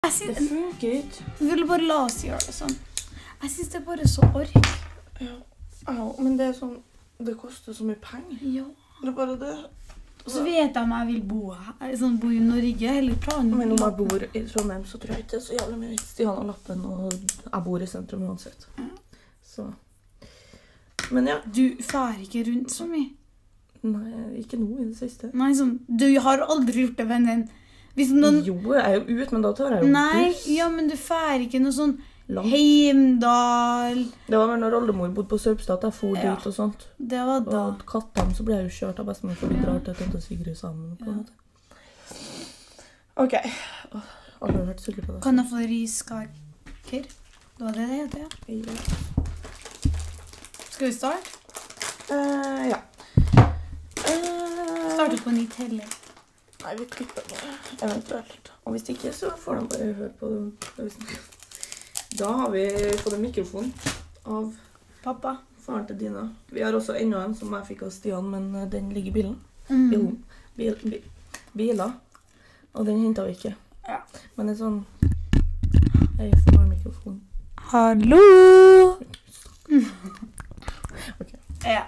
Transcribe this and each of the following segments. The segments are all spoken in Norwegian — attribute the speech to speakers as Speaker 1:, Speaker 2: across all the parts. Speaker 1: Jeg
Speaker 2: Det
Speaker 1: syns,
Speaker 2: funker ikke.
Speaker 1: vi ville bare la oss gjøre det sånn. Jeg syns det er bare så ork.
Speaker 2: Ja. Ja, men det er sånn Det koster så mye penger.
Speaker 1: Ja.
Speaker 2: Det er bare det.
Speaker 1: Og så vet jeg om jeg vil bo her, sånn bo i Norge eller planen.
Speaker 2: Men om jeg bor i Trondheim, så tror jeg ikke det er så jævlig mye vits i å ha lappen, og jeg bor i sentrum uansett. Så Men ja.
Speaker 1: Du fær ikke rundt så mye.
Speaker 2: Nei, ikke nå i det siste.
Speaker 1: Nei, sånn, du har aldri gjort det, vennen. Hvis noen...
Speaker 2: Jo, jeg er jo ute, men da tar jeg jo
Speaker 1: Nei,
Speaker 2: buss.
Speaker 1: ja, men du fær ikke noe sånn
Speaker 2: Langt.
Speaker 1: Heimdal.
Speaker 2: Det var vel når oldemor bodde på Sørpstad at jeg for
Speaker 1: Ja.
Speaker 2: dit og sånt.
Speaker 1: Det var da.
Speaker 2: Og kattene så ble jeg jo kjørt av bestemor, for vi
Speaker 1: Ja.
Speaker 2: drar til tante Sigrid sammen. på en måte. OK. Åh, Aldri vært sulten på det.
Speaker 1: Kan jeg få riskaker? Det var det det het, ja. Skal vi starte?
Speaker 2: Eh, ja. Eh,
Speaker 1: Starte på nytt heller.
Speaker 2: Nei, vi klipper bare, eventuelt. Og hvis ikke, så får de bare høre på det vi snakker om. Da har vi fått en mikrofon av
Speaker 1: Pappa.
Speaker 2: faren til Dina. Vi har også enda en som jeg fikk av Stian, men eh, den ligger i bilen.
Speaker 1: Mm.
Speaker 2: Bilen. Bil, bi- biler. Og den henta vi ikke.
Speaker 1: Ja.
Speaker 2: Men det er sånn ASMR-mikrofon.
Speaker 1: Hallo!
Speaker 2: Ok.
Speaker 1: Ja.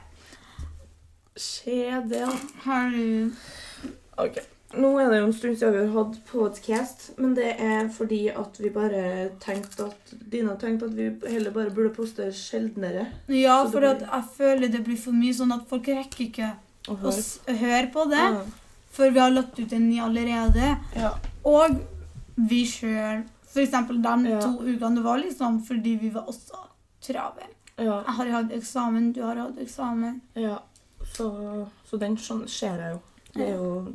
Speaker 2: Skje det, da.
Speaker 1: Har du
Speaker 2: Ok. Nå er det jo en stund siden vi har hatt podcast, men det er fordi at vi bare tenkte at Dina tenkte at vi heller bare burde poste sjeldnere.
Speaker 1: Ja,
Speaker 2: Så det
Speaker 1: for at jeg føler det blir for mye sånn at folk rekker ikke
Speaker 2: Og
Speaker 1: å s- høre på det
Speaker 2: Ja.
Speaker 1: før vi har lagt ut en ny allerede.
Speaker 2: Ja.
Speaker 1: Og vi sjøl. For eksempel de
Speaker 2: Ja.
Speaker 1: to ukene det var liksom fordi vi var også travel.
Speaker 2: Ja.
Speaker 1: Jeg har hatt eksamen, du har hatt eksamen.
Speaker 2: ja. Så, så den skjøn- ser jeg jo. Det er jo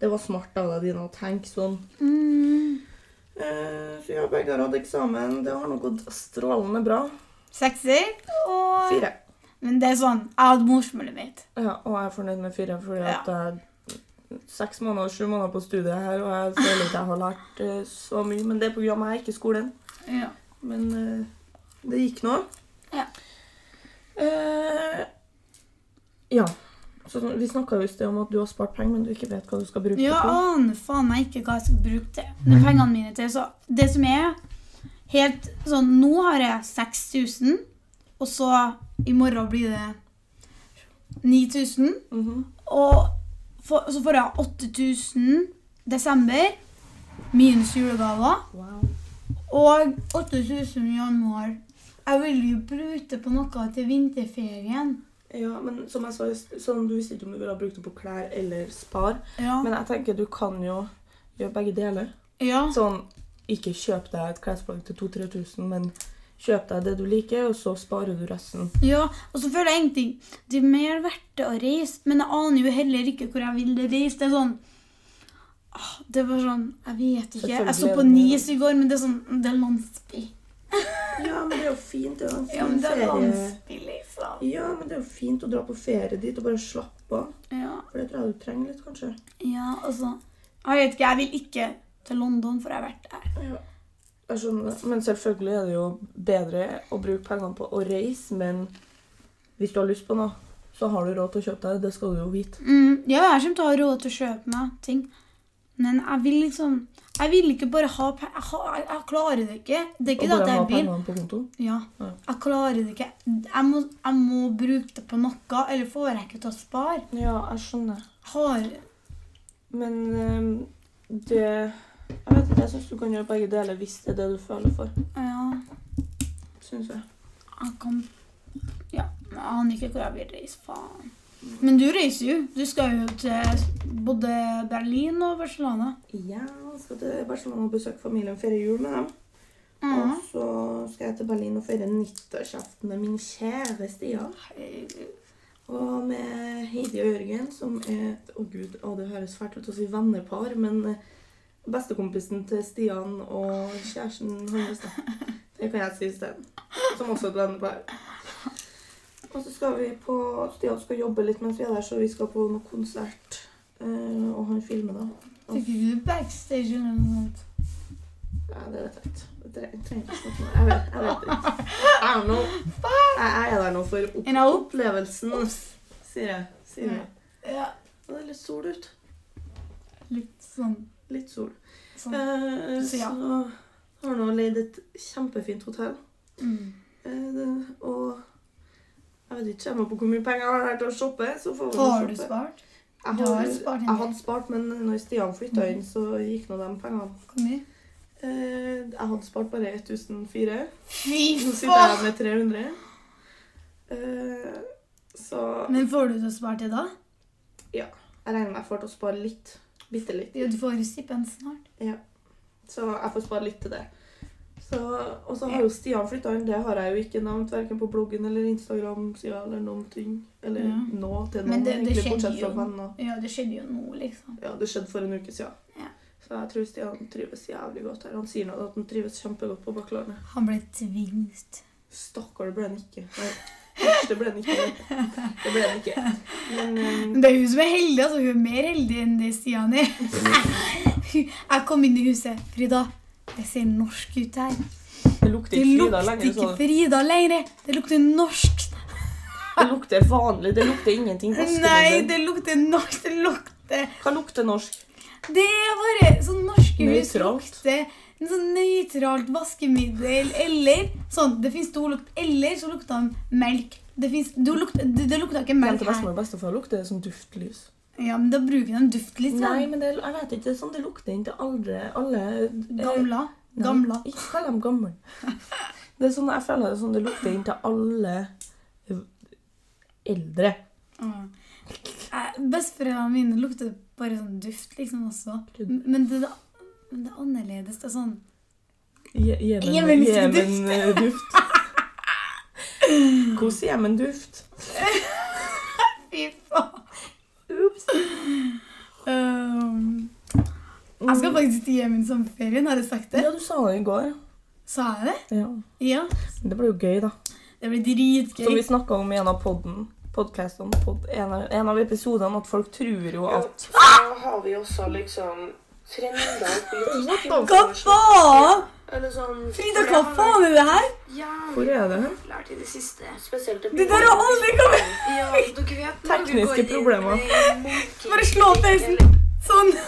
Speaker 2: Det var smart av deg, Dina, å tenke sånn.
Speaker 1: Mm.
Speaker 2: Eh, så ja, begge har hatt eksamen. Det har nå gått strålende bra.
Speaker 1: Sekser. Og
Speaker 2: Fire.
Speaker 1: Men det er sånn, jeg hadde morsmålet mitt.
Speaker 2: Ja, og jeg er fornøyd med fire, fordi
Speaker 1: Ja.
Speaker 2: at jeg er seks måneder, sju måneder på studiet her, og jeg føler ikke jeg har lært eh, så mye. Men det er på grunn av meg, ikke skolen.
Speaker 1: Ja.
Speaker 2: Men eh, det gikk nå.
Speaker 1: Ja.
Speaker 2: Eh, ja. Så, vi snakka jo i sted om at du har spart penger, men du ikke vet hva du skal bruke
Speaker 1: Jeg
Speaker 2: det
Speaker 1: aner faen meg ikke hva jeg skal bruke til. De pengene mine til, så det som er helt sånn, nå har jeg 6000, og så i morgen blir det 9000,
Speaker 2: på. Mhm.
Speaker 1: og for, så får jeg 8000 desember, minus julegaver,
Speaker 2: Wow.
Speaker 1: og 8000 i januar. Jeg vil jo bruke på noe til vinterferien.
Speaker 2: Ja, men som jeg sa, i sted, sånn, du visste ikke om du ville ha brukt det på klær eller spar.
Speaker 1: Ja.
Speaker 2: Men jeg tenker du kan jo gjøre begge deler.
Speaker 1: ja.
Speaker 2: Sånn, ikke kjøp deg et klesplagg til 2-3 tusen, men kjøp deg det du liker, og så sparer du resten.
Speaker 1: Ja, og så føler jeg ingenting. Det er mer verdt det å reise, men jeg aner jo heller ikke hvor jeg vil reise. Det er sånn ah, Det er bare sånn Jeg vet ikke. Jeg så på
Speaker 2: Selvfølgelig er det
Speaker 1: Nis i går, men det er sånn Det er landsby.
Speaker 2: Ja, men det er jo fint. Det er jo en
Speaker 1: Ja, men
Speaker 2: fin
Speaker 1: det er
Speaker 2: ferie.
Speaker 1: landsby, liksom.
Speaker 2: Ja, men det er jo fint å dra på ferie dit og bare slappe av.
Speaker 1: Ja,
Speaker 2: For det tror jeg du trenger litt, kanskje.
Speaker 1: ja altså Jeg vet ikke. Jeg vil ikke til London, for jeg har vært der.
Speaker 2: Ja. Jeg skjønner det. Men selvfølgelig er det jo bedre å bruke pengene på å reise, men hvis du har lyst på noe, så har du råd til å kjøpe deg det. Det skal du jo vite.
Speaker 1: Mm, ja, jeg kommer til å ha råd til å kjøpe meg ting, men jeg vil liksom Jeg vil ikke bare ha pe- Jeg, har- jeg, jeg klarer det ikke. Det er
Speaker 2: Og
Speaker 1: ikke det
Speaker 2: bare
Speaker 1: at
Speaker 2: ha
Speaker 1: jeg vil.
Speaker 2: pengene på konto.
Speaker 1: Ja.
Speaker 2: Ja.
Speaker 1: Jeg klarer det ikke. Jeg må, jeg må bruke det på noe, eller får jeg ikke til å spare.
Speaker 2: Ja, jeg skjønner.
Speaker 1: Jeg Har
Speaker 2: Men ehm, det Jeg vet ikke, jeg syns du kan gjøre begge deler hvis det er det du føler for.
Speaker 1: Ja,
Speaker 2: Synes jeg.
Speaker 1: jeg kan Ja, jeg aner ikke hvor jeg vil reise, faen. Men du reiser jo. Du skal jo til både Berlin og Barcelona.
Speaker 2: Ja, jeg skal til Barcelona og besøke familien og feire jul med dem. Og
Speaker 1: Mhm.
Speaker 2: så skal jeg til Berlin og feire nyttårsaften med min kjære Stian. Og med Heidi og Jørgen, som er Å gud, å, det høres fælt ut å si vennepar, men eh, bestekompisen til Stian og kjæresten hans, da. Det kan jeg si isteden. Som også et vennepar. Og så skal vi på Stian skal jobbe litt mens vi er der, så vi skal på noe konsert. Eh, og han filmer, da.
Speaker 1: Fikk ikke du backstage eller noe sånt?
Speaker 2: Nei, det vet jeg ikke. Det tre- trenger ikke snakke om det. Jeg vet, jeg vet ikke. Jeg er, nå, jeg er der nå for opp
Speaker 1: En opp?
Speaker 2: opplevelsen, sier jeg. Sier jeg.
Speaker 1: Ja,
Speaker 2: Og det er litt sol ute.
Speaker 1: litt sånn
Speaker 2: Litt sol.
Speaker 1: Sånn.
Speaker 2: Eh,
Speaker 1: Så
Speaker 2: så
Speaker 1: ja.
Speaker 2: har nå leid et kjempefint hotell.
Speaker 1: Mm.
Speaker 2: Eh, det, og jeg vet ikke jeg må på hvor mye penger jeg har her til å shoppe. Så får vi nå
Speaker 1: Har du
Speaker 2: shoppe.
Speaker 1: spart?
Speaker 2: Jeg,
Speaker 1: Du har
Speaker 2: har,
Speaker 1: spart en
Speaker 2: jeg
Speaker 1: del.
Speaker 2: hadde spart, men når Stian flytta inn, så gikk nå de pengene.
Speaker 1: Hvor mye?
Speaker 2: Eh, jeg hadde spart bare 1004.
Speaker 1: Fy
Speaker 2: Nå sitter
Speaker 1: faen!
Speaker 2: jeg med 300. Eh, så
Speaker 1: Men får du så spart det da?
Speaker 2: jeg regner med jeg får til å spare litt. Bitte litt.
Speaker 1: Jo, Du får jo stipend snart.
Speaker 2: Så jeg får spare litt til det. Så, og så har jo Stian flytta inn. Det har jeg jo ikke nevnt verken på bloggen eller Instagram-sida eller noen ting. Eller
Speaker 1: Ja.
Speaker 2: nå til
Speaker 1: Men det-
Speaker 2: noen,
Speaker 1: det
Speaker 2: egentlig,
Speaker 1: skjedde
Speaker 2: bortsett fra
Speaker 1: jo.
Speaker 2: venner.
Speaker 1: Ja, det skjedde jo nå, liksom.
Speaker 2: Ja, det skjedde for en uke siden.
Speaker 1: Ja.
Speaker 2: Så jeg tror Stian trives jævlig godt her. Han sier nå at han trives kjempegodt på Bakklandet.
Speaker 1: Han ble tvunget.
Speaker 2: Stakkar, det ble han ikke. Nei, æsj, det ble han ikke. Det ble han ikke. Men eh,
Speaker 1: Det er hun som er heldig, altså. Hun er mer heldig enn det Stian er. Jeg kom inn i huset. Frida, det ser norsk ut her.
Speaker 2: det lukter
Speaker 1: Det
Speaker 2: ikke Frida
Speaker 1: lukter
Speaker 2: lenger. sånn.
Speaker 1: ikke
Speaker 2: Så
Speaker 1: Frida lenger. Det lukter norsk.
Speaker 2: det lukter vanlig. Det lukter ingenting.
Speaker 1: Nei,
Speaker 2: Nei,
Speaker 1: det lukter norsk. Det lukter
Speaker 2: Hva lukter norsk?
Speaker 1: Det er bare sånn norske hus
Speaker 2: Nøytralt.
Speaker 1: lukter en sånn nøytralt vaskemiddel eller sånn Det fins to lukt. Eller så lukter han melk. Det, finnes, du lukter, det, det lukter ikke
Speaker 2: Hjem
Speaker 1: melk
Speaker 2: til
Speaker 1: her.
Speaker 2: bestemor og bestefar lukter det som duftlys.
Speaker 1: Ja, men da bruker de duft litt.
Speaker 2: Nei,
Speaker 1: Sånn.
Speaker 2: men det, jeg vet ikke. Det er sånn det lukter inn til alle, alle eh,
Speaker 1: Gamla.
Speaker 2: Nei,
Speaker 1: Gamla.
Speaker 2: Ikke kall dem gamle. Det er sånn, jeg føler det er sånn det lukter inn til alle eldre.
Speaker 1: Ja. Eh, Besteforeldrene mine lukter bare sånn duft, liksom, også.
Speaker 2: Gud.
Speaker 1: Men det, men det er annerledes. Det er sånn
Speaker 2: Je- Jemen-
Speaker 1: Jemensk
Speaker 2: Jemen-duft. Hvordan Jemen-duft?
Speaker 1: Fy faen!
Speaker 2: Ups.
Speaker 1: Ehm, jeg
Speaker 2: Mm.
Speaker 1: skal faktisk til Jemen sommerferien, har jeg sagt det?
Speaker 2: Ja, du sa det i går.
Speaker 1: Sa jeg det?
Speaker 2: Ja.
Speaker 1: Ja.
Speaker 2: Det ble jo gøy, da.
Speaker 1: Det blir
Speaker 2: Som vi
Speaker 1: dritgøy.
Speaker 2: snakka om i en av podden, podcastene, pod, en, av, en av episodene, at folk tror jo at
Speaker 3: Så har vi også liksom trender på YouTube.
Speaker 1: Hva faen?!
Speaker 3: Eller sånn
Speaker 1: Frida, hva faen er det her?!
Speaker 2: Hvor
Speaker 3: Jævlig
Speaker 2: er det hen?
Speaker 3: populært i det siste. Spesielt det
Speaker 1: Det der har aldri kommet!
Speaker 3: Ja, dere vet når du
Speaker 2: Tekniske
Speaker 3: går inn
Speaker 2: problemer.
Speaker 3: med monkey-
Speaker 1: Bare slå opp heisen. Sånn.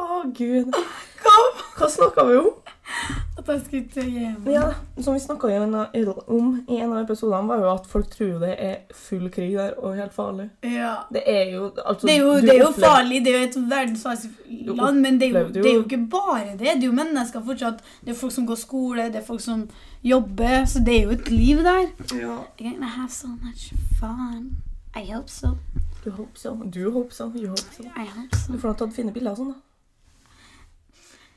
Speaker 2: Å, gud.
Speaker 1: Kom!
Speaker 2: Hva snakka vi om?
Speaker 1: At jeg skulle til Jemen.
Speaker 2: Ja, som vi snakka om i en av episodene, var jo at folk tror det er full krig der og helt farlig.
Speaker 1: Ja.
Speaker 2: Det er jo altså,
Speaker 1: Det er jo,
Speaker 2: du
Speaker 1: det er jo
Speaker 2: opplever-
Speaker 1: farlig, det er jo et verdens
Speaker 2: Du
Speaker 1: farligste land, men det er, jo,
Speaker 2: opplevde jo-
Speaker 1: det er jo ikke bare det. Det er jo mennesker fortsatt. Det er folk som går skole, det er folk som jobber, så det er jo et liv der.
Speaker 2: Ja.
Speaker 1: I'm gonna have so much fun. I hope so.
Speaker 2: Du håper sånn. Du håper sånn. Jeg håper sånn.
Speaker 1: I hope
Speaker 2: Du
Speaker 1: so.
Speaker 2: får da tatt fine bilder og sånn, da.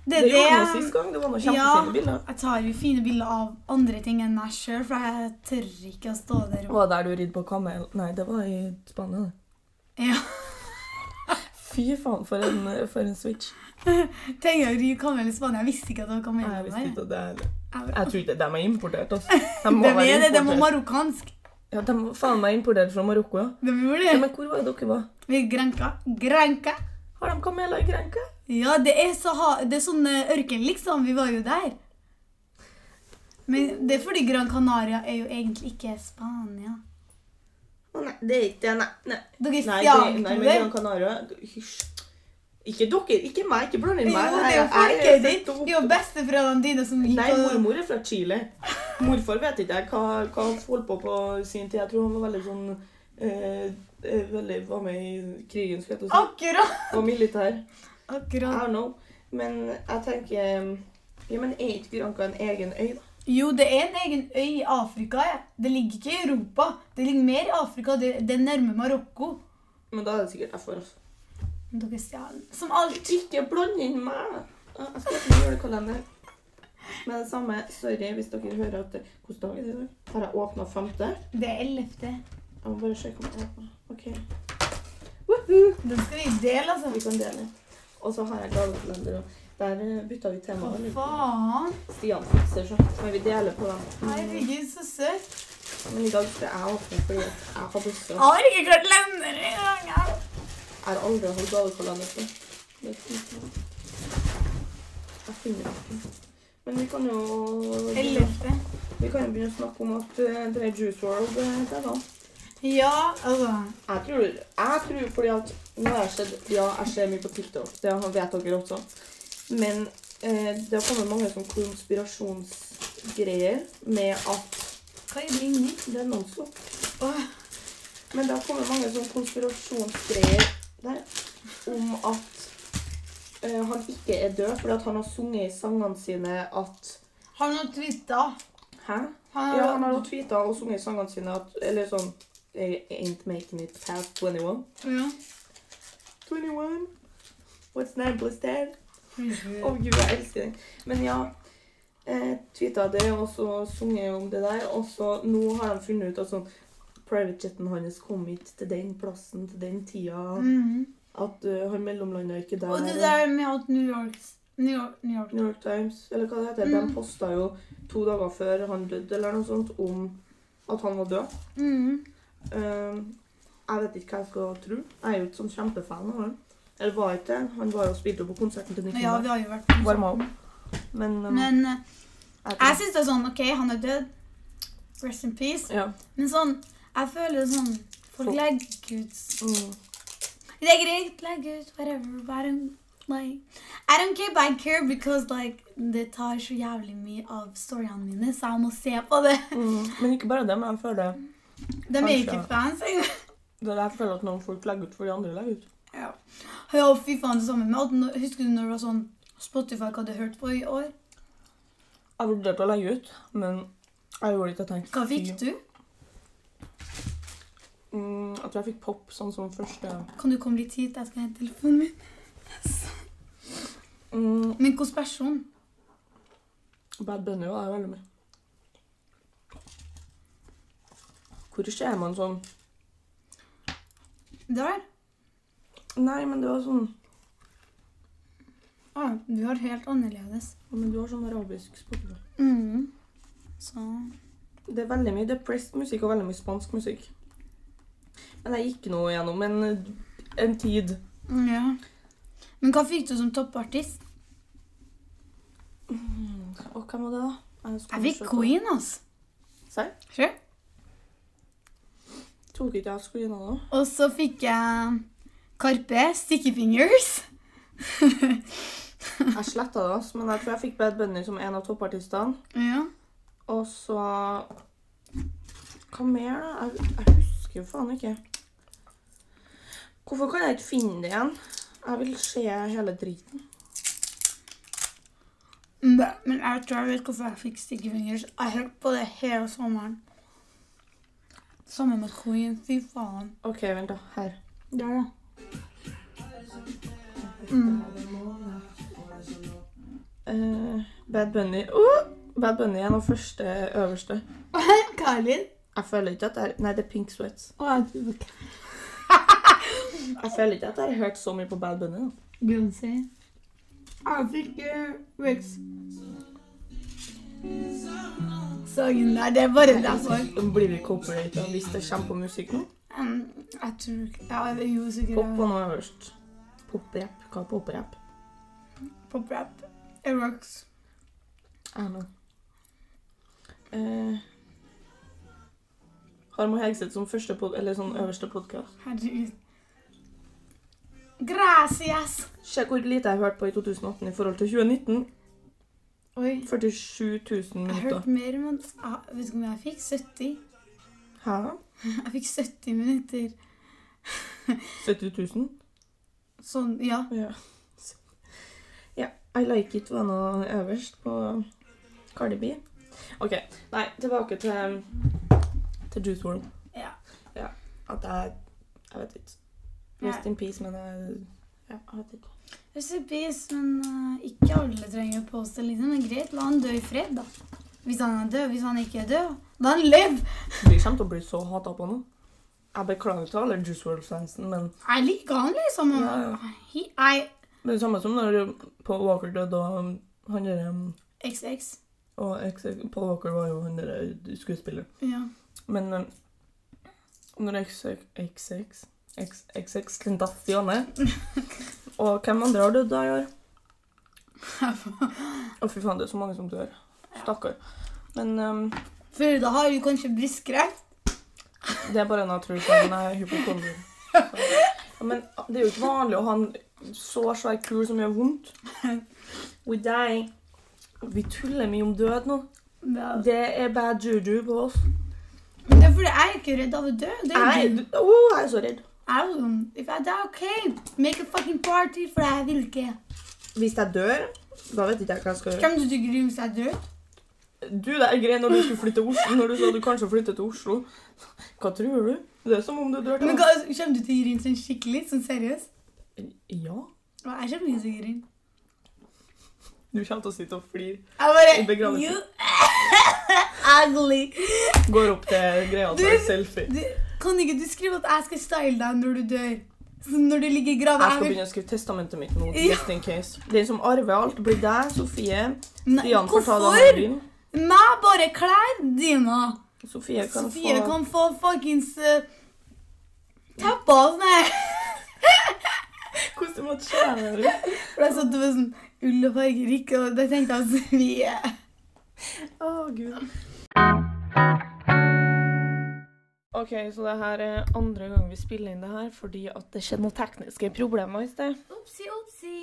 Speaker 1: Det
Speaker 2: Det,
Speaker 1: er
Speaker 2: gjorde vi sist
Speaker 1: det.
Speaker 2: gang. Det var noen
Speaker 1: Ja.
Speaker 2: kjempefine bilder.
Speaker 1: Jeg tar jo fine bilder av andre ting enn meg sjøl, for jeg tør ikke å stå der og
Speaker 2: Var det der du ridde på kamel? Nei, det var i Spania, det.
Speaker 1: ja.
Speaker 2: Fy faen, for en, for en switch.
Speaker 1: Tenk å ri kamel i Spania. Jeg visste ikke at det var kamel
Speaker 2: Jeg visste
Speaker 1: der.
Speaker 2: ikke at det er
Speaker 1: Jeg-
Speaker 2: Jeg tror ikke de er importert, altså. De må
Speaker 1: Hvem
Speaker 2: være
Speaker 1: er det? De var
Speaker 2: importert.
Speaker 1: marokkansk.
Speaker 2: Ja, de var faen meg importert fra Marokko, ja.
Speaker 1: De
Speaker 2: ja.
Speaker 1: gjorde det.
Speaker 2: Men hvor var det dere var?
Speaker 1: Vi grenka. Grenka.
Speaker 2: Har de kameler i Grenka?
Speaker 1: Ja, det er, Saha- det er sånn eh, ørken, liksom. Vi var jo der. Men det er fordi Gran Canaria er jo egentlig ikke Spania.
Speaker 2: Å, Nei, det er ikke det. Nei. nei.
Speaker 1: Dere
Speaker 2: Nei, det, nei
Speaker 1: fjerner
Speaker 2: men
Speaker 1: det.
Speaker 2: Gran Canaria Hysj. Ikke dere, ikke meg. Ikke bland inn
Speaker 1: Jo,
Speaker 2: meg.
Speaker 1: det er jo
Speaker 2: Jeg- jeg
Speaker 1: folket
Speaker 2: født
Speaker 1: ditt.
Speaker 2: og
Speaker 1: Det er jo besteforeldrene dine som
Speaker 2: opp-
Speaker 1: gikk
Speaker 2: Nei,
Speaker 1: og
Speaker 2: mormor er fra Chile. Morfar vet ikke jeg hva, hva han holdt på på sin tid. Jeg tror han var veldig sånn eh, eh, veldig, Var med i krigen, skulle jeg til å si.
Speaker 1: Akkurat!
Speaker 2: Var militær. I
Speaker 1: Akkurat.
Speaker 2: don't know. Men jeg tenker um, Ja, men er ikke Granca en egen øy, da?
Speaker 1: Jo, det er en egen øy i Afrika. Ja. Det ligger ikke i Europa. Det ligger mer i Afrika. Det, det er nærme Marokko.
Speaker 2: Men da er det sikkert derfor. altså.
Speaker 1: Men Dere stjeler som alt.
Speaker 2: Ikke bland inn meg! Jeg skal ikke gjøre julekalender. Med det samme, sorry hvis dere hører at det- Hvilken dag er det i dag? Har jeg åpna femte?
Speaker 1: Det er ellevte.
Speaker 2: Jeg må bare sjekke om jeg åpner. Ok,
Speaker 1: Den skal vi dele,
Speaker 2: vi
Speaker 1: altså.
Speaker 2: kan dele. Og så har jeg gavekalender òg. Der eh, bytta vi tema.
Speaker 1: Hva
Speaker 2: eller?
Speaker 1: faen?
Speaker 2: Stian fikser så. Men vi deler på dem.
Speaker 1: Herregud, så søtt.
Speaker 2: Men i dag skal jeg åpne fordi at jeg har
Speaker 1: Jeg
Speaker 2: bursdag.
Speaker 1: har ikke klart lender i gang.
Speaker 2: Jeg har aldri holdt gavekalender før. Det er fint, ja. Jeg finner det ikke. Men vi kan jo
Speaker 1: Ellevte.
Speaker 2: Vi kan jo begynne å snakke om at eh, det er Juice World der, da.
Speaker 1: Ja, altså
Speaker 2: Jeg tror, jeg tror fordi at nå har jeg sett, Ja, jeg ser mye på TikTok, det har- vet dere også. Men eh, det har kommet mange sånn konspirasjonsgreier med at Hva er det inni? Det er nonstop. Åh. Men det har kommet mange sånn konspirasjonsgreier der om at eh, han ikke er død fordi at han har sunget i sangene sine at
Speaker 1: Har han twitta?
Speaker 2: Hæ? Ja, han har jo tweeta og sunget i sangene sine at Eller sånn eh, Ain't making it past 21.
Speaker 1: ja.
Speaker 2: 21. What's name was dead? Å, gud, jeg elsker den. Men ja, eh, tweeta det, og så sang jeg om det der. Og så nå har de funnet ut at sånn privatejeten hans kom hit til den plassen til den tida.
Speaker 1: Mhm.
Speaker 2: At eh, han mellomlanda ikke der.
Speaker 1: Og det der med at New York New York, New York.
Speaker 2: New York Times, eller hva det heter,
Speaker 1: Mm.
Speaker 2: de posta jo to dager før han døde, eller noe sånt, om at han var død.
Speaker 1: Mhm.
Speaker 2: Eh, jeg vet ikke hva jeg skal tro. Jeg er jo ikke sånn kjempefan av han. Eller var ikke det. Han var jo og spilte jo på konserten til
Speaker 1: Men Ja, vi har
Speaker 2: Nicolai.
Speaker 1: jo vært på
Speaker 2: Varma
Speaker 1: konserten.
Speaker 2: Men, eh,
Speaker 1: Men eh,
Speaker 2: jeg vet
Speaker 1: jeg
Speaker 2: ikke.
Speaker 1: syns det er sånn OK, han er død. Rest in peace.
Speaker 2: ja.
Speaker 1: Men sånn, jeg føler sånn Folk
Speaker 2: Folk-
Speaker 1: legger ut
Speaker 2: Mm.
Speaker 1: Det er greit, legg ut whatever. but I don't, like, I don't care, but I care because like, det tar så jævlig mye av storyene mine, så jeg må se på det.
Speaker 2: Mm, men ikke bare det, men jeg føler,
Speaker 1: De er ikke
Speaker 2: Kanskje.
Speaker 1: fans. jeg-
Speaker 2: det der jeg føler at noen folk legger ut for de andre legger ut.
Speaker 1: Ja, ja fy faen, det samme med at nå- Husker du når det var sånn Spotify hva du hørte på i år?
Speaker 2: Jeg vurderte å legge ut, men jeg gjorde det ikke. Jeg tenkte
Speaker 1: Hva fikk du?
Speaker 2: Mm, jeg tror jeg fikk pop sånn som første
Speaker 1: Kan du komme litt hit? Jeg skal hente telefonen min.
Speaker 2: mm,
Speaker 1: Men hvilken person?
Speaker 2: Bad Bunny var jeg veldig med. Hvor ser man sånn
Speaker 1: Der?
Speaker 2: Nei, men det var sånn
Speaker 1: Ah, du har helt annerledes.
Speaker 2: Men du har sånn arabisk Spotify.
Speaker 1: Mhm. Så
Speaker 2: Det er veldig mye depressed musikk og veldig mye spansk musikk. Men jeg gikk nå gjennom en, en tid.
Speaker 1: Ja. Men hva fikk du som toppartist?
Speaker 2: Mm, og hvem var det, da?
Speaker 1: Jeg fikk Queen, altså.
Speaker 2: Serr?
Speaker 1: Sure.
Speaker 2: Tok ikke jeg screena nå?
Speaker 1: Og så fikk jeg Karpe, Sticky Fingers.
Speaker 2: Jeg sletta det, ass, men jeg tror jeg fikk Bad Bunny som en av toppartistene.
Speaker 1: Ja.
Speaker 2: Og så Hva mer, da? Jeg, jeg husker jo faen ikke. Hvorfor kan jeg ikke finne det igjen? Jeg vil se hele driten.
Speaker 1: Bæ, Men jeg tror jeg vet hvorfor jeg fikk Sticky Fingers. Jeg hørte på det hele sommeren. Sammen med Queen. Fy faen.
Speaker 2: OK, vent, da. Her.
Speaker 1: Der, da. Mm.
Speaker 2: Eh, Bad Bunny. Oh! Bad Bunny er den første øverste.
Speaker 1: Karin?
Speaker 2: Jeg føler ikke at det er Nei, det er Pink Sweats.
Speaker 1: Beyoncé?
Speaker 2: Jeg føler ikke at jeg har hørt så mye på Bad Bunny. da.
Speaker 1: Jeg fikk eh, Rex. Sangen der, det er bare derfor.
Speaker 2: Nå Blir vi copyrighta hvis det kommer på musikk nå?
Speaker 1: Um, jeg tror ikke Ja, jeg er jo sikkert
Speaker 2: Pop var nå øverst. Poprap. Hva er poprap?
Speaker 1: Pop-rap. Rocks.
Speaker 2: Erna. Eh, Harm og Hegseth som første pod eller sånn øverste podkast.
Speaker 1: Herregud. Gracias!
Speaker 2: Se hvor lite jeg hørte på i 2018 i forhold til 2019.
Speaker 1: Oi.
Speaker 2: 47 000
Speaker 1: Jeg
Speaker 2: minutter.
Speaker 1: hørte mer, men ah, vet du hvor mye jeg fikk? 70?
Speaker 2: Hæ?
Speaker 1: Jeg fikk 70 minutter.
Speaker 2: 70 000?
Speaker 1: Sånn, ja.
Speaker 2: Ja. ja. I Like It var nå øverst på Cardi B. OK. Nei, tilbake til, til Juice WRLD.
Speaker 1: Ja.
Speaker 2: ja. At jeg Jeg vet ikke. Rest in peace, men jeg Ja, jeg vet ikke.
Speaker 1: Recipes, men eh, ikke alle trenger å poste, liksom. Men greit, la han dø i fred, da. Hvis han er død. Hvis han ikke er død, da han lev!
Speaker 2: Vi kommer til å bli så hata på nå. Jeg beklager til alle Juice WRLD-fansen, men,
Speaker 1: Jeg liker han, liksom.
Speaker 2: Ja, ja.
Speaker 1: He, I,
Speaker 2: men det er samme som når Paul Walker døde, og han der, um,
Speaker 1: XX.
Speaker 2: og ex Paul Walker var jo han derre skuespilleren.
Speaker 1: Ja.
Speaker 2: Men um, når XX XX X- XX Tentacione Og hvem andre har dødd da i år? Å, fy faen, det er så mange som dør. Stakkar. Men um,
Speaker 1: Før da har du kanskje brystkreft.
Speaker 2: Det er bare en jeg tror som er hypokonder. Så- Ja, men ah, det er jo ikke vanlig å ha en så svær kul som gjør vondt. We die. Vi tuller mye om død nå.
Speaker 1: Men
Speaker 2: Det er bad juju på oss.
Speaker 1: det er fordi jeg er ikke redd av å dø. Det er
Speaker 2: Jeg,
Speaker 1: jo du.
Speaker 2: du- Åh, jeg er så redd.
Speaker 1: Jeg er jo sånn, If I die, OK. Make a fucking party, for jeg vil ikke.
Speaker 2: Hvis jeg dør, da vet ikke jeg hva jeg skal gjøre.
Speaker 1: Hvem du tykker hvis jeg dør?
Speaker 2: Du, det er greit når du skulle flytte til Oslo, når du sa du kanskje flyttet til Oslo. Hva tror du? Det er som om du dør til
Speaker 1: Men hva, kommer du til å gi inn sånn skikkelig? Sånn seriøst?
Speaker 2: Ja.
Speaker 1: Og Jeg kommer ikke til å gi inn.
Speaker 2: Du kommer til å sitte og flire.
Speaker 1: Jeg bare
Speaker 2: I begravelse.
Speaker 1: You ugly.
Speaker 2: Går opp til greia til
Speaker 1: Du-
Speaker 2: en selfie.
Speaker 1: Du, kan ikke du skrive at jeg skal style deg når du dør? Sånn når du ligger i grava?
Speaker 2: Jeg skal begynne å skrive testamentet mitt nå.
Speaker 1: Ja.
Speaker 2: Just in case. Den som arver alt, blir deg, Sofie.
Speaker 1: Nei,
Speaker 2: Stian får ta den
Speaker 1: Hvorfor?
Speaker 2: din.
Speaker 1: Meg bare klær dine.
Speaker 2: Sofie kan
Speaker 1: Sofie
Speaker 2: få
Speaker 1: kan få fuckings uh, teppa og sånn her.
Speaker 2: Hvordan du må tjene deg.
Speaker 1: For jeg satt med sånn ull og fargerik, og det tenkte jeg Sofie
Speaker 2: Å, gud. OK, så det her er andre gang vi spiller inn det her fordi at det skjedde noen tekniske problemer i sted.
Speaker 1: Opsi, opsi.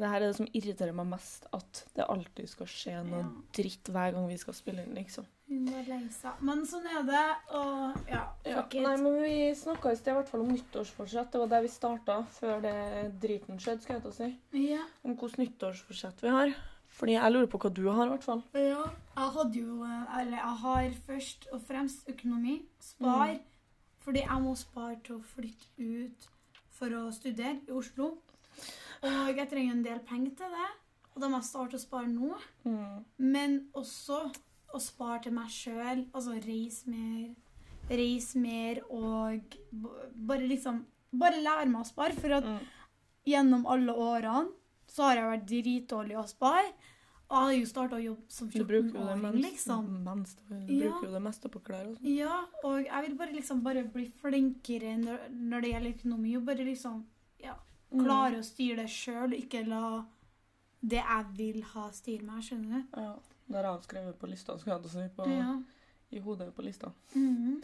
Speaker 2: Det her er det som irriterer meg mest, at det alltid skal skje noe dritt hver gang vi skal spille inn, liksom.
Speaker 1: Hun var lei seg. Men sånn er det, og ja,
Speaker 2: Ja.
Speaker 1: fuck
Speaker 2: Nei,
Speaker 1: it.
Speaker 2: men vi snakka i sted i hvert fall om nyttårsforsett. Det var der vi starta før det driten skjedde, skal jeg til å si.
Speaker 1: Ja,
Speaker 2: Om hvordan nyttårsforsett vi har. Fordi jeg lurer på hva du har, i hvert fall.
Speaker 1: ja. Jeg hadde jo eh, Eller jeg har først og fremst økonomi. Spar. Fordi jeg må spare til å flytte ut for å studere i Oslo. Og jeg trenger en del penger til det. Og da må jeg starte å spare nå. Mm, Men også å spare til meg sjøl. Altså reise mer. Reise mer og b- bare liksom Bare lære meg å spare. For at
Speaker 2: Mm.
Speaker 1: gjennom alle årene så har jeg vært dritdårlig å spare. Og jeg hadde jo starta å jobbe som
Speaker 2: Du bruker jo det
Speaker 1: 14-åring,
Speaker 2: mens,
Speaker 1: liksom.
Speaker 2: mens du
Speaker 1: Ja.
Speaker 2: bruker jo det meste på klær og sånn.
Speaker 1: Ja, og jeg vil bare liksom bare bli flinkere når, når det gjelder økonomi. Og bare liksom
Speaker 2: Mm.
Speaker 1: klare å styre det sjøl, ikke la det jeg vil ha, styre meg. Skjønner du?
Speaker 2: Ja. Det har jeg avskrevet på lista, skal jeg til å si. På,
Speaker 1: Ja.
Speaker 2: I hodet på lista.
Speaker 1: Mhm.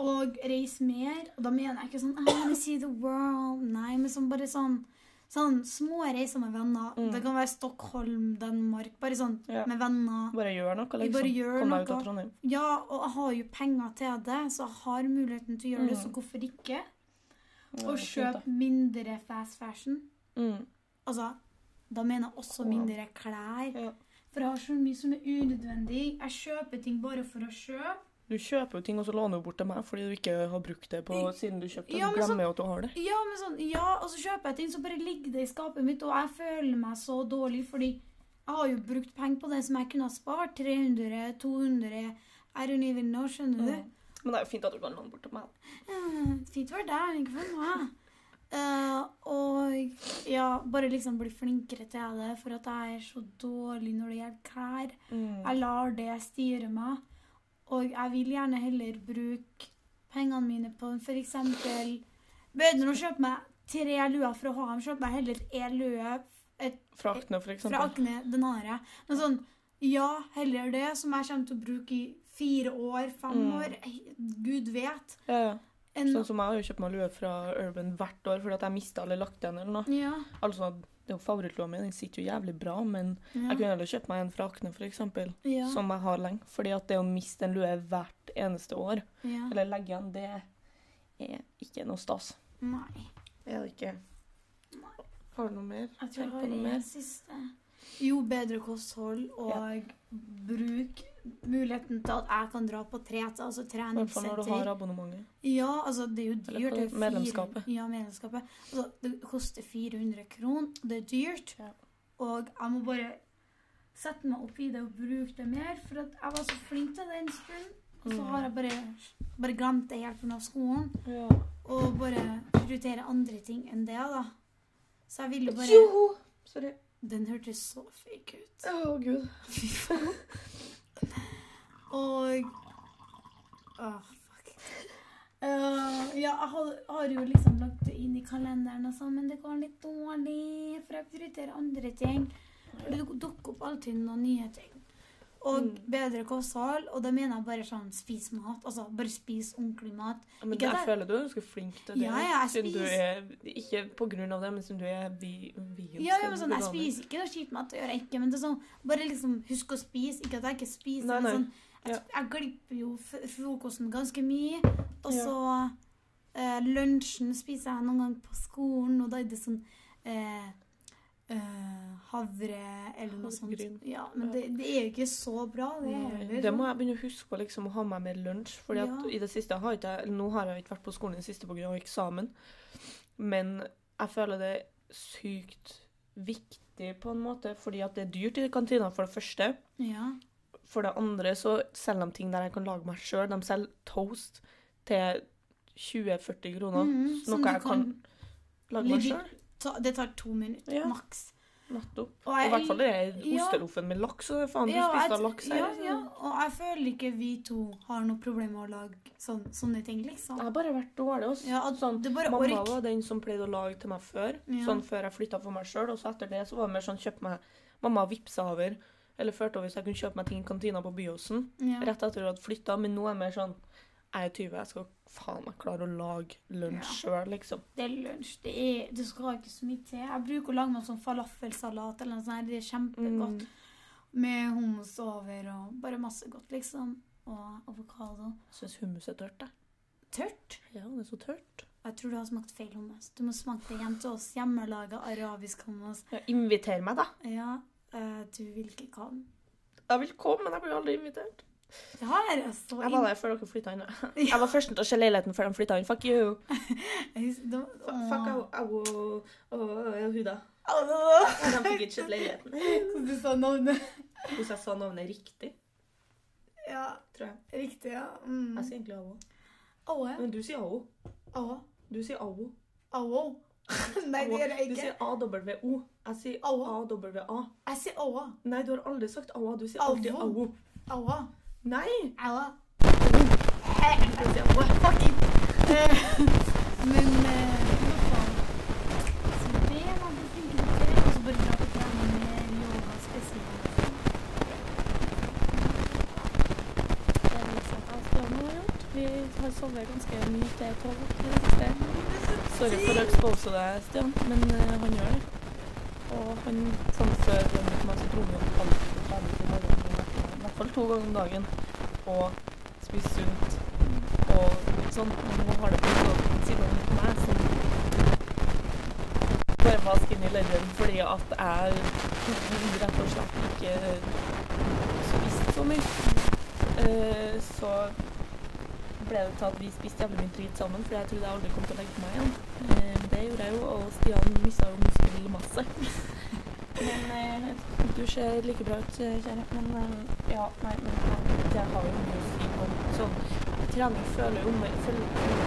Speaker 1: Og reise mer. Og da mener jeg ikke sånn I wanna see the world. Nei, men sånn bare sånn Sånn små reiser med venner.
Speaker 2: Mm.
Speaker 1: Det kan være Stockholm, Danmark. Bare sånn
Speaker 2: Ja.
Speaker 1: med venner.
Speaker 2: Bare gjør noe,
Speaker 1: Vi
Speaker 2: liksom.
Speaker 1: bare gjør
Speaker 2: Kom deg ut
Speaker 1: noe.
Speaker 2: av Trondheim.
Speaker 1: Ja, og jeg har jo penger til det, så jeg har muligheten til å gjøre det, så
Speaker 2: Mm.
Speaker 1: hvorfor ikke?
Speaker 2: Ja,
Speaker 1: Og
Speaker 2: det er fint,
Speaker 1: kjøp mindre fast fashion.
Speaker 2: da. Mm.
Speaker 1: Altså, da mener jeg også
Speaker 2: Ja.
Speaker 1: mindre klær.
Speaker 2: Ja.
Speaker 1: For jeg har så mye som er unødvendig. Jeg kjøper ting bare for å kjøpe.
Speaker 2: Du kjøper jo ting, og så låner du bort til meg fordi du ikke har brukt det på siden du kjøpte det.
Speaker 1: Ja,
Speaker 2: Du
Speaker 1: men så-
Speaker 2: glemmer jo at du har det.
Speaker 1: Ja, men sånn, ja, og så kjøper jeg ting, så bare ligger det i skapet mitt, og jeg føler meg så dårlig, fordi jeg har jo brukt penger på det som jeg kunne ha spart. 300, 200, I don't even know, skjønner du?
Speaker 2: Men det er jo fint at du kan låne bort til meg.
Speaker 1: Eh, Fint for deg, men ikke for meg. Eh, og ja, bare liksom bli flinkere til det, for at jeg er så dårlig når det gjelder klær.
Speaker 2: Mm.
Speaker 1: Jeg lar det styre meg, og jeg vil gjerne heller bruke pengene mine på for eksempel Bedre å kjøpe meg tre luer for å ha dem, kjøpe meg heller én lue
Speaker 2: Fra Akne, for
Speaker 1: fra
Speaker 2: eksempel.
Speaker 1: Akne, den har jeg. Men sånn, ja, heller det, som jeg kommer til å bruke i fire år, fem
Speaker 2: Mm.
Speaker 1: år, eh, gud vet.
Speaker 2: Ja, ja.
Speaker 1: enn-
Speaker 2: Sånn som jeg har jo kjøpt meg lue fra Urban hvert år fordi at jeg mista eller lagt igjen eller noe.
Speaker 1: ja,
Speaker 2: Altså, det er jo favorittlua mi, den sitter jo jævlig bra, men
Speaker 1: ja.
Speaker 2: jeg kunne sånn- heller kjøpt meg en fra Akne, for eksempel.
Speaker 1: Ja.
Speaker 2: Som jeg har lenge. Fordi at det å miste en lue hvert eneste år,
Speaker 1: ja.
Speaker 2: eller legge igjen, det er ikke noe stas.
Speaker 1: Nei.
Speaker 2: Det er det ikke. Har du noe mer?
Speaker 1: Jeg tror jeg
Speaker 2: Tenk på
Speaker 1: har
Speaker 2: noe
Speaker 1: en
Speaker 2: mer.
Speaker 1: siste. Jo bedre kosthold og bruk muligheten til at jeg kan dra på tre til altså
Speaker 2: I hvert fall når du
Speaker 1: treningssenter.
Speaker 2: har abonnementet.
Speaker 1: Ja, altså det er jo
Speaker 2: Eller
Speaker 1: dyrt.
Speaker 2: på
Speaker 1: det er jo fire-
Speaker 2: medlemskapet.
Speaker 1: Ja, medlemskapet. Altså, det koster 400 kroner. Det er dyrt.
Speaker 2: Ja.
Speaker 1: Og jeg må bare sette meg opp i det og bruke det mer, for at jeg var så flink til det en stund. Og så
Speaker 2: Mm.
Speaker 1: har jeg bare, bare glemt det helt pga. skolen.
Speaker 2: Ja.
Speaker 1: Og bare prioritere andre ting enn det, da. Så jeg ville jo bare
Speaker 2: Jo! Sorry.
Speaker 1: Den hørtes så fake ut.
Speaker 2: Å, gud.
Speaker 1: Og Åh, fuck. Eh, ja, jeg har, har jo liksom lagt det inn i kalenderen og sånn, men det går litt dårlig, for jeg prioriterer andre ting. For det duk- dukker opp alltid noen nye ting. og
Speaker 2: Mm.
Speaker 1: bedre kosthold. Og da mener jeg bare sånn spis mat. Altså bare spis ordentlig mat.
Speaker 2: Ja, Men
Speaker 1: Ikke
Speaker 2: der
Speaker 1: det-
Speaker 2: føler du er ganske flink til det.
Speaker 1: Ja, ja, jeg
Speaker 2: siden du
Speaker 1: spiser-
Speaker 2: er, ikke på grunn av det, men siden du er vi, vegansk.
Speaker 1: Ja, ja, men
Speaker 2: eller
Speaker 1: sånn, Jeg
Speaker 2: veganer.
Speaker 1: spiser ikke noe skitmat, det gjør jeg ikke, men det er sånn, bare liksom husk å spise. Ikke at jeg ikke spiser,
Speaker 2: Nei, nei.
Speaker 1: men sånn, jeg,
Speaker 2: Ja.
Speaker 1: jeg glipper jo f- frokosten ganske mye. Og
Speaker 2: Ja.
Speaker 1: så eh, lunsjen spiser jeg noen gang på skolen, og da er det sånn eh, eh, havre eller noe sånt.
Speaker 2: Havregryn.
Speaker 1: Ja, men
Speaker 2: Ja.
Speaker 1: det, det er jo ikke så bra, det heller.
Speaker 2: Mm. Det må jeg begynne å huske på, liksom, å ha med meg lunsj. Fordi at
Speaker 1: Ja.
Speaker 2: i det siste har ikke jeg, Nå har jeg ikke vært på skolen i det siste pga. eksamen, men jeg føler det er sykt viktig på en måte, fordi at det er dyrt i kantina, for det første.
Speaker 1: Ja.
Speaker 2: For det andre så selger de ting der jeg kan lage meg sjøl. De selger toast til 20-40 kroner.
Speaker 1: Mhm, som du
Speaker 2: noe jeg kan, lage meg
Speaker 1: legit-
Speaker 2: sjøl.
Speaker 1: ta, det tar to minutter
Speaker 2: Ja.
Speaker 1: maks.
Speaker 2: Nettopp.
Speaker 1: Og
Speaker 2: I
Speaker 1: jeg-
Speaker 2: hvert fall det er
Speaker 1: Ja.
Speaker 2: osteloffen med laks. Og faen, du
Speaker 1: Ja,
Speaker 2: spiste
Speaker 1: jeg-
Speaker 2: laks her.
Speaker 1: Ja,
Speaker 2: liksom.
Speaker 1: ja, og jeg føler ikke vi to har noe problem med å lage sånn, sånne ting,
Speaker 2: Jeg
Speaker 1: liksom.
Speaker 2: har bare vært dårlig. Også.
Speaker 1: Ja, at
Speaker 2: sånn,
Speaker 1: det bare
Speaker 2: mamma
Speaker 1: ork.
Speaker 2: var den som pleide å lage til meg før.
Speaker 1: Ja.
Speaker 2: Sånn før jeg flytta for meg sjøl. Og så etter det så var det mer sånn kjøp meg Mamma vippsa over. Eller førte over så jeg kunne kjøpe meg ting i kantina på Byåsen.
Speaker 1: Ja.
Speaker 2: Rett etter at jeg hadde flytta. Men nå er det mer sånn Jeg er 20, jeg skal faen meg klare å lage lunsj sjøl, liksom.
Speaker 1: Det er lunsj. Det, er, det skal ikke så mye til. Jeg bruker å lage meg sånn falafelsalat eller noe sånt. her. Det er
Speaker 2: Mm.
Speaker 1: kjempegodt. Med hummus over og bare masse godt, liksom. Og avokado.
Speaker 2: Syns hummus er tørt, jeg.
Speaker 1: Tørt.
Speaker 2: Ja, det er så tørt.
Speaker 1: Jeg tror du har smakt feil hummus. Du må smake det hjem til oss. Hjemmelaga arabisk hummus.
Speaker 2: Ja, inviter meg, da.
Speaker 1: Ja, eh, du vil ikke ha den.
Speaker 2: Jeg vil komme, men jeg blir aldri invitert.
Speaker 1: Det her er så
Speaker 2: Jeg var der før dere flytta inn. Jeg var førsten til å se leiligheten før de flytta inn. Fuck you.
Speaker 1: inn- Det-
Speaker 2: Fuck, fuck au, au, au, au, Huda.
Speaker 1: Åh.
Speaker 2: De fikk ikke kjøpt leiligheten.
Speaker 1: Så du sa navnet?
Speaker 2: Hvis jeg sa navnet riktig,
Speaker 1: Ja,
Speaker 2: tror jeg.
Speaker 1: riktig, ja. Mm.
Speaker 2: Jeg sier egentlig Awo.
Speaker 1: Aue.
Speaker 2: Men du sier Awo.
Speaker 1: Aue.
Speaker 2: Du sier Awo.
Speaker 1: Aue. Nei, det gjør jeg
Speaker 2: Du
Speaker 1: ikke.
Speaker 2: sier AWO. Jeg sier
Speaker 1: Awo.
Speaker 2: AWA.
Speaker 1: Jeg sier aue.
Speaker 2: Nei, du har aldri sagt Awa. Du sier alltid
Speaker 1: Awo.
Speaker 2: Awo.
Speaker 1: Aue.
Speaker 2: Nei!
Speaker 1: Aue.
Speaker 2: Du sier Awo.
Speaker 1: Fucking. Eh, Men eh, hva faen? Så det er man blir flinkere til, og så bare dra på trening med yoga spesielt.
Speaker 4: Det er litt sånn alt det vi har gjort. Vi har sovet ganske mye til tolv i det siste.
Speaker 2: Sorry for å expose deg, Stian, men eh, han gjør det. Og han sånn før han gikk meg, så dro han opp alt ferdig til morgenen. I hvert fall to ganger om dagen. Og spiste sunt. Og litt sånn. Men nå har det blitt sånn siden han gikk meg, som bare var skinny legend fordi at jeg rett og slett ikke spiste så mye. Eh, så ble det til at vi spiste jævlig mye drit sammen, for jeg trodde jeg aldri kom til å legge meg igjen. Eh, det gjorde jeg jo, og Stian mista jo muskelmasse. Men eh, du ser like bra ut, eh, kjære. Men eh, ja, nei, men det har jo mye å si om sånn trening føler jo med føler jo med-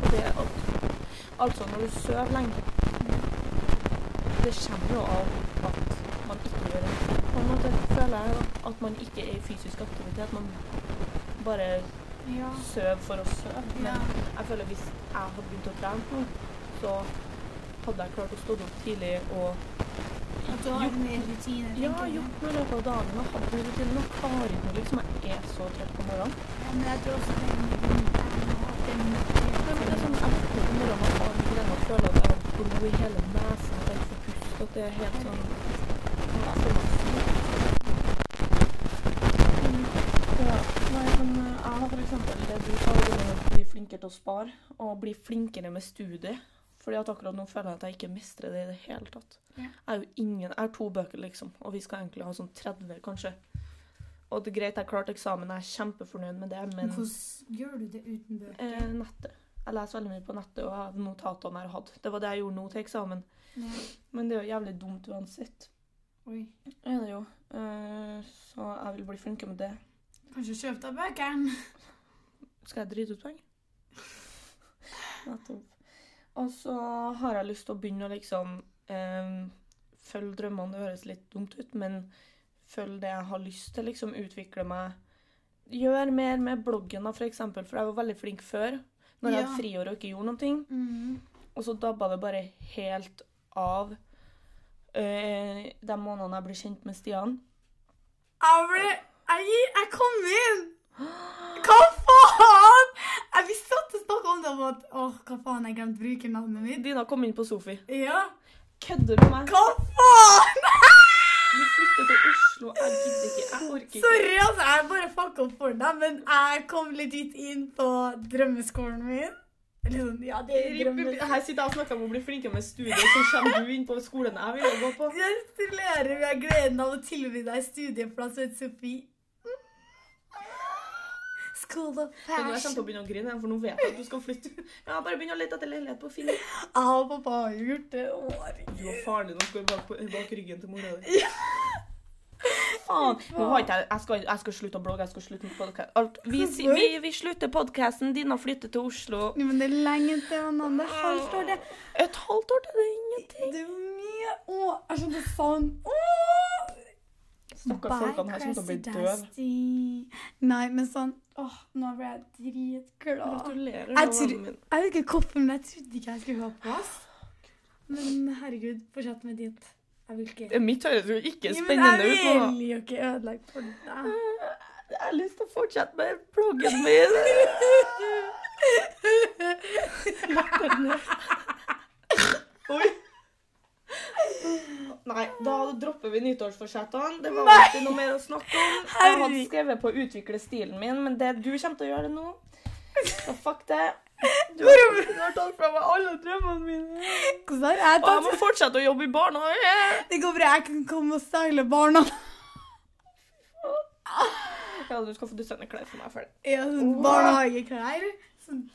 Speaker 2: Og det er alt. Altså, når du sover lenge Det kommer jo av at man ikke gjør det. På en måte føler jeg jo at man ikke er i fysisk aktivitet. Man bare
Speaker 1: Ja.
Speaker 2: søv for å søve. Men
Speaker 1: Ja.
Speaker 2: jeg føler hvis jeg hadde begynt å trene nå, så hadde jeg klart å stå opp tidlig og
Speaker 1: At du har mer rutiner,
Speaker 2: ja,
Speaker 1: tenker jeg.
Speaker 2: gjort noe i løpet av dagen. Jeg hadde noe til nå. Har ikke noe liksom. Jeg er så trøtt på morgenen.
Speaker 1: Ja, Men jeg tror også det er mye mer at det er mye-
Speaker 2: Men det er sånn jeg våkner på morgenen og har migrene og føler at jeg har blod i hele nesen, at jeg ikke får pust, at det er helt sånn ja, jeg føler meg syk. Mm, ja, Nei, men eh, jeg har for eksempel det du sa om å bli flinkere til å spare, og bli flinkere med studiet. Fordi at akkurat nå føler jeg at jeg ikke mestrer det i det hele tatt.
Speaker 1: Ja.
Speaker 2: Jeg er jo ingen, jeg har to bøker, liksom, og vi skal egentlig ha sånn 30, kanskje. Og det er greit, jeg klarte eksamen, jeg er kjempefornøyd med det, men
Speaker 1: Hvordan gjør du det uten
Speaker 2: eh,
Speaker 1: bøker?
Speaker 2: nettet. Jeg leser veldig mye på nettet, og jeg hadde notatene jeg hadde. Det var det jeg gjorde nå til eksamen.
Speaker 1: Ja.
Speaker 2: Men det er jo jævlig dumt uansett.
Speaker 1: Oi.
Speaker 2: Det er det jo. Eh, så jeg vil bli flinkere med det.
Speaker 1: Kanskje kjøp deg bøkene?
Speaker 2: Skal jeg drite ut poeng? Nettopp. Og så har jeg lyst til å begynne å liksom em, følge drømmene. Det høres litt dumt ut, men følge det jeg har lyst til. Liksom utvikle meg. Gjør mer med bloggen, da, for eksempel. For jeg var veldig flink før. Når jeg
Speaker 1: Ja.
Speaker 2: hadde friår og ikke gjorde noen ting.
Speaker 1: Mm.
Speaker 2: Og så dabba det bare helt av eh, de månedene jeg ble kjent med Stian.
Speaker 1: Jeg ble Jeg, gi- jeg kom inn! Hva faen?! Jeg Vi satt og snakka om det om at Åh, hva faen, jeg glemte brukernavnet mitt.
Speaker 2: Dina kom inn på Sofi.
Speaker 1: Ja,
Speaker 2: Kødder du med meg?
Speaker 1: hva faen?!
Speaker 2: Du flytter til Oslo. Jeg gidder ikke. Jeg orker ikke.
Speaker 1: Sorry, altså. Jeg bare fucka opp for deg, men jeg kom legit inn på drømmeskolen min. Eller sånn, ja, det er drømmeskolen.
Speaker 2: Her sitter jeg og snakker om å bli flinkere med studiet, så kommer du inn på skolen jeg ville gå på.
Speaker 1: Gratulerer med gleden av å tilby deg studieplass ved Sofie. School of
Speaker 2: Men nå er jeg kommer
Speaker 1: Fashion.
Speaker 2: til å begynne å grine, for nå vet jeg at du skal flytte. Ja, bare begynn å lete etter leilighet på Finn.
Speaker 1: Jeg og pappa har jo gjort det. Å, herregud.
Speaker 2: Du og faren din står bak, bak ryggen til mora di. Faen. Nå har ikke jeg, jeg, skal, jeg skal slutte å blogge, jeg skal slutte med podcast. Alt. Vi, si- vi, vi slutter podcasten. Dina flytter til Oslo.
Speaker 1: Jo, Men det er lenge til man har det er halvt år, det.
Speaker 2: Et halvt år til det er ingenting.
Speaker 1: Det er mye Å, jeg skjønner sånn Åh!
Speaker 2: Stakkars folkene her kommer til å bli døve.
Speaker 1: Nei, men sånn Åh, nå ble jeg dritglad.
Speaker 2: Gratulerer.
Speaker 1: Jeg
Speaker 2: da,
Speaker 1: tror-
Speaker 2: vennen min.
Speaker 1: Jeg vet ikke hvorfor, men jeg trodde ikke jeg skulle ha pass. Men herregud, fortsett med ditt. Jeg vil ikke
Speaker 2: Mitt høres jo ikke
Speaker 1: Jo, men
Speaker 2: spennende ut.
Speaker 1: Jeg
Speaker 2: nå.
Speaker 1: vil jo ikke ødelegge for deg.
Speaker 2: Jeg har lyst til å fortsette med bloggen min. Oi. Nei, da dropper vi nyttårsforsettene. Det var ikke noe mer å snakke om. Jeg hadde
Speaker 1: Herregud.
Speaker 2: skrevet på å utvikle stilen min, men det du kommer til å gjøre det nå. Så fuck det. Du har,
Speaker 1: Hvorfor-
Speaker 2: du har tatt fra meg alle drømmene mine.
Speaker 1: Hvordan har jeg
Speaker 2: Og jeg
Speaker 1: tatt
Speaker 2: må fortsette å jobbe i barnehage.
Speaker 1: Det går bra, jeg kan komme og style barna.
Speaker 2: Ja, du skal få designe klær for meg ferdig.
Speaker 1: Ja, sånn barnehageklær. Sånn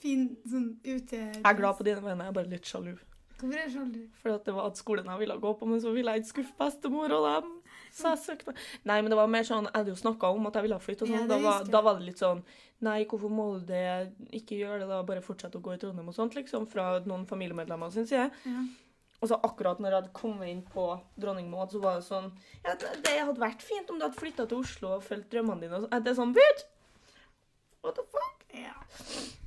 Speaker 1: fin sånn ute...
Speaker 2: Jeg er glad på dine vegne, jeg er bare litt sjalu.
Speaker 1: Hvorfor er det sånn?
Speaker 2: Fordi at det var at skolen jeg ville gå på, men så ville jeg ikke skuffe bestemor og dem. Så jeg søkte Nei, men det var mer sånn Jeg hadde jo snakka om at jeg ville flytte og
Speaker 1: Ja,
Speaker 2: sånn.
Speaker 1: det
Speaker 2: da, var-
Speaker 1: husker jeg.
Speaker 2: da var det litt sånn Nei, hvorfor må du det? Ikke gjør det, da. Bare fortsett å gå i Trondheim og sånt, liksom. Fra noen familiemedlemmer sin side.
Speaker 1: Ja.
Speaker 2: Og så akkurat når jeg hadde kommet inn på Dronningmoen, så var det sånn Ja, det det hadde vært fint om du hadde flytta til Oslo og fulgt drømmene dine og sånn. Det er sånn Bitch! What the fuck?
Speaker 1: Ja.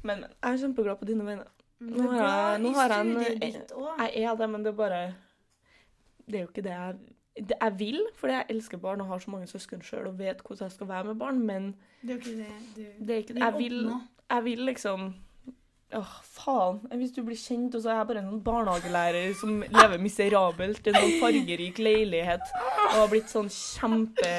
Speaker 2: Men, men. Jeg er kjempeglad på dine vegne.
Speaker 1: Men
Speaker 2: Nå
Speaker 1: det er
Speaker 2: har
Speaker 1: bra
Speaker 2: jeg- nå
Speaker 1: i
Speaker 2: har jeg en- eh,
Speaker 1: studiet ditt også.
Speaker 2: Jeg er det, men det er bare Det er jo ikke det jeg det Jeg vil, fordi jeg elsker barn og har så mange søsken sjøl og vet hvordan jeg skal være med barn, men
Speaker 1: Det er jo ikke det du
Speaker 2: det er ikke
Speaker 1: vil
Speaker 2: Jeg vil,
Speaker 1: oppnå.
Speaker 2: jeg vil liksom Åh, faen. Hvis du blir kjent, og så er jeg bare en sånn barnehagelærer som lever miserabelt i en sånn fargerik leilighet og har blitt sånn kjempe...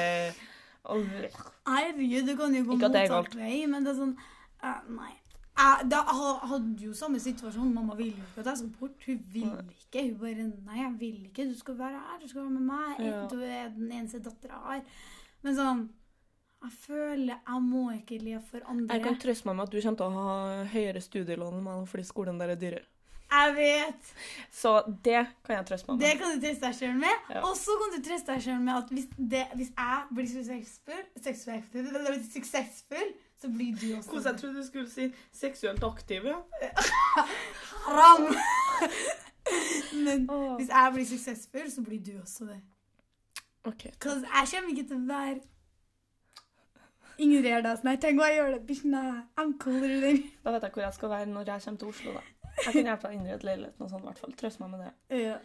Speaker 2: og-
Speaker 1: Herregud, du kan jo gå
Speaker 2: Ikke at det er
Speaker 1: motsatt vei, men det er sånn eh, Nei. Jeg da ha- hadde jo samme situasjon. Mamma vil jo ikke at jeg skal bort. Hun vil ikke. Hun bare Nei, jeg vil ikke. Du skal være her. Du skal være med meg.
Speaker 2: Ja.
Speaker 1: Du er den eneste dattera jeg har. Men sånn Jeg føler jeg må ikke leve for andre.
Speaker 2: Jeg kan trøste meg med at du kommer til å ha høyere studielån enn meg fordi skolen der er dyrere.
Speaker 1: Jeg vet!
Speaker 2: Så det kan jeg trøste meg med.
Speaker 1: Det kan du trøste deg sjøl med.
Speaker 2: Sånn. Ja.
Speaker 1: Og så kan du trøste deg sjøl med at hvis, det, hvis jeg blir suksessfull, suksessfull, suksessfull, så blir du også
Speaker 2: Hvordan jeg trodde du skulle si seksuelt aktiv, ja.
Speaker 1: Ram! Men hvis jeg blir suksessfull, så blir du også det.
Speaker 2: Ok.
Speaker 1: Cause jeg kommer ikke til å være Ingrid Erdalsen. Jeg tenker hva jeg gjør det, bitch. Nei, I'm cooler than
Speaker 2: Da vet jeg hvor jeg skal være når jeg kommer til Oslo, da. Jeg kan hjelpe deg å innrede leiligheten og sånn, i hvert fall. Trøst meg med det. Ja,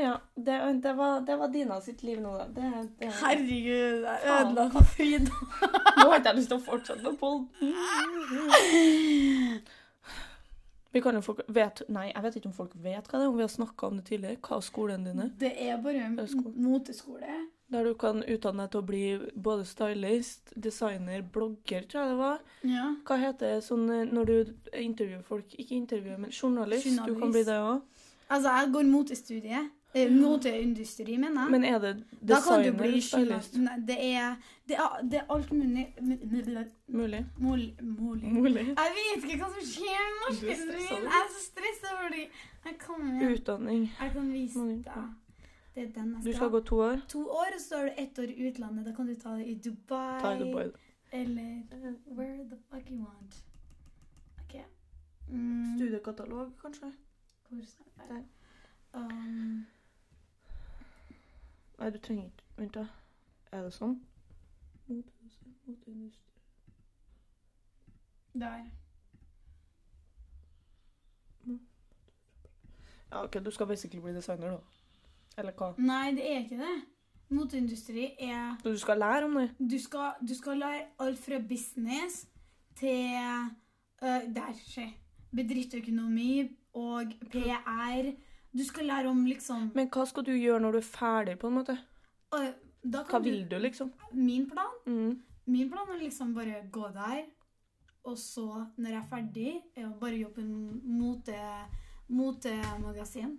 Speaker 2: ja. Det, det, var, det var Dina sitt liv nå, da. Det, det.
Speaker 1: Herregud, jeg
Speaker 2: Faen.
Speaker 1: ødela for Frida.
Speaker 2: Nå har ikke jeg lyst til å fortsette med polden. Vi kan jo folk vet, Nei, jeg vet ikke om folk vet hva det er, om vi har snakka om det tidligere. Hva er skolen din er?
Speaker 1: Det er bare en
Speaker 2: Høyskole.
Speaker 1: moteskole.
Speaker 2: Der du kan utdanne deg til å bli både stylist, designer, blogger, tror jeg det var.
Speaker 1: Ja.
Speaker 2: Hva heter det sånn eh, når du intervjuer folk? Ikke intervjuer, men journalist. Du kan
Speaker 1: Journalist.
Speaker 2: bli det òg.
Speaker 1: Altså, jeg går motestudiet. Eh, Moteindustri, mener jeg.
Speaker 2: Men er det
Speaker 1: da kan du
Speaker 2: designer
Speaker 1: bli
Speaker 2: eller stylist?
Speaker 1: journal- Nei, det er, det er, det er alt mulig
Speaker 2: Mulig.
Speaker 1: Mulig.
Speaker 2: Mulig.
Speaker 1: Jeg vet ikke hva som skjer med
Speaker 2: Du er
Speaker 1: norsken
Speaker 2: stressa,
Speaker 1: min.
Speaker 2: du.
Speaker 1: Jeg er så stressa fordi jeg kommer hjem.
Speaker 2: Utdanning.
Speaker 1: Jeg kan vise
Speaker 2: Mange
Speaker 1: deg. Det er den
Speaker 2: Du
Speaker 1: jeg
Speaker 2: skal
Speaker 1: skal ha.
Speaker 2: gå to år.
Speaker 1: To år, og så har du ett år i utlandet. Da kan du ta det i Dubai.
Speaker 2: Ta det boy.
Speaker 1: Eller where the fuck you want. OK. Mm,
Speaker 2: Studiekatalog, kanskje?
Speaker 1: hvor snakker jeg? Um,
Speaker 2: Nei, du trenger ikke Vent, da. Er det sånn?
Speaker 1: der.
Speaker 2: Ja, OK, du skal basically bli designer, da. Eller hva?
Speaker 1: Nei, det er ikke det. Moteindustri er
Speaker 2: Når du skal lære om det.
Speaker 1: Du skal, du skal lære alt fra business til uh, der, se. bedriftsøkonomi og PR. Du skal lære om liksom
Speaker 2: Men hva skal du gjøre når du er ferdig, på en måte?
Speaker 1: øh, da
Speaker 2: Hva
Speaker 1: kan
Speaker 2: vil du, liksom?
Speaker 1: du, Min plan
Speaker 2: Mm.
Speaker 1: Min plan er liksom bare gå der, og så, når jeg er ferdig, er å bare jobbe mot motemagasin.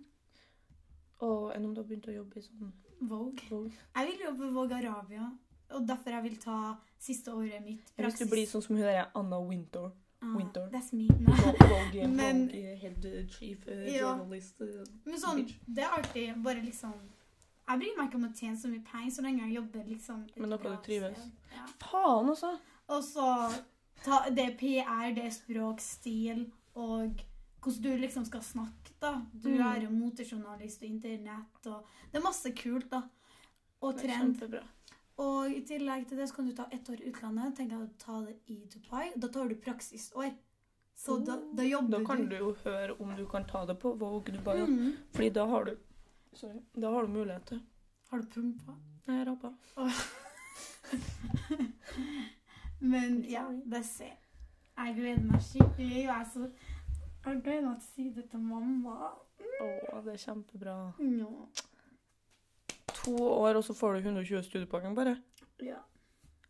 Speaker 2: Og enn om du har begynt å jobbe i sånn
Speaker 1: Vogue.
Speaker 2: Vogue?
Speaker 1: Jeg vil jobbe i Vogue Arabia, og derfor jeg vil ta siste året mitt.
Speaker 2: Hvis du blir sånn som hun der Anna Wintour.
Speaker 1: Ah,
Speaker 2: Winter.
Speaker 1: that's me. Nei.
Speaker 2: Vogue,
Speaker 1: Men-
Speaker 2: Vogue head chief eh,
Speaker 1: Ja.
Speaker 2: journalist. eh.
Speaker 1: Men sånn, det er alltid bare liksom Jeg bryr meg ikke om å tjene så mye penger så lenge jeg jobber liksom et
Speaker 2: Men noe du
Speaker 1: bra
Speaker 2: trives.
Speaker 1: sted. Ja.
Speaker 2: Faen, altså!
Speaker 1: Og så ta, det er PR, det er språk, stil og hvordan du liksom skal snakke, da. Du
Speaker 2: Mm.
Speaker 1: er jo motejournalist og internett og Det er masse kult, da. Og
Speaker 2: Det er
Speaker 1: trend.
Speaker 2: Kjempebra.
Speaker 1: Og i tillegg til det så kan du ta ett år i utlandet. Tenk deg å ta det i Dubai. Da tar du praksisår. Så da, da jobber
Speaker 2: Oh. Da kan du jo høre om du kan ta det på Vogue Dubai.
Speaker 1: Mm.
Speaker 2: Fordi da har du Sorry. Da har du muligheter.
Speaker 1: Har du prompa?
Speaker 2: Nei, jeg rappa.
Speaker 1: Men ja, det ser jeg. Jeg gleder meg skikkelig. og Jeg, er så, jeg gleder meg til å si det til mamma.
Speaker 2: Å, det er kjempebra.
Speaker 1: Ja.
Speaker 2: To år, og så får du 120 studiepoeng, bare.
Speaker 1: ja.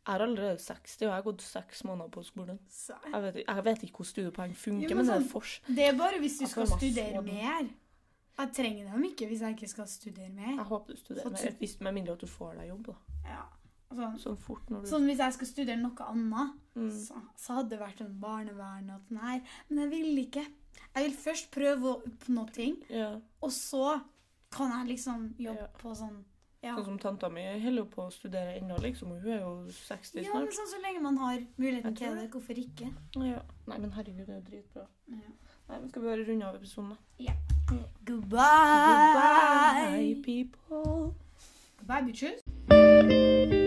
Speaker 2: Jeg er allerede 60, og jeg har gått seks måneder på skolen.
Speaker 1: Så.
Speaker 2: Jeg vet, jeg vet ikke hvordan studiepoeng funker,
Speaker 1: Jo, men
Speaker 2: men, det er
Speaker 1: sånn-
Speaker 2: fors.
Speaker 1: Det er bare hvis du
Speaker 2: Jeg
Speaker 1: skal
Speaker 2: får masse
Speaker 1: studere
Speaker 2: orden.
Speaker 1: mer. Jeg trenger dem ikke hvis jeg ikke skal studere mer.
Speaker 2: Jeg håper du studerer
Speaker 1: Fått-
Speaker 2: mer, hvis med mindre at du får deg jobb, da.
Speaker 1: Ja. Sånn.
Speaker 2: Sånn fort når du
Speaker 1: sånn hvis jeg skal studere noe annet,
Speaker 2: mm.
Speaker 1: så, så hadde det vært en barnevern og sånn her. Men jeg vil ikke. Jeg vil først prøve å oppnå ting,
Speaker 2: Ja.
Speaker 1: og så kan jeg liksom jobbe
Speaker 2: Ja.
Speaker 1: på sånn Ja.
Speaker 2: Sånn som tanta mi holder jo på å studere ennå, liksom. og Hun er jo 60
Speaker 1: Ja, men
Speaker 2: snart.
Speaker 1: sånn så lenge man har muligheten
Speaker 2: Jeg tror
Speaker 1: til det, hvorfor ikke?
Speaker 2: Ja. Nei, men herregud, det er jo dritbra.
Speaker 1: Ja.
Speaker 2: Nei, men Skal vi bare runde av episoden, da?
Speaker 1: Goodbye.
Speaker 2: Goodbye people.
Speaker 1: Goodbye, bitches.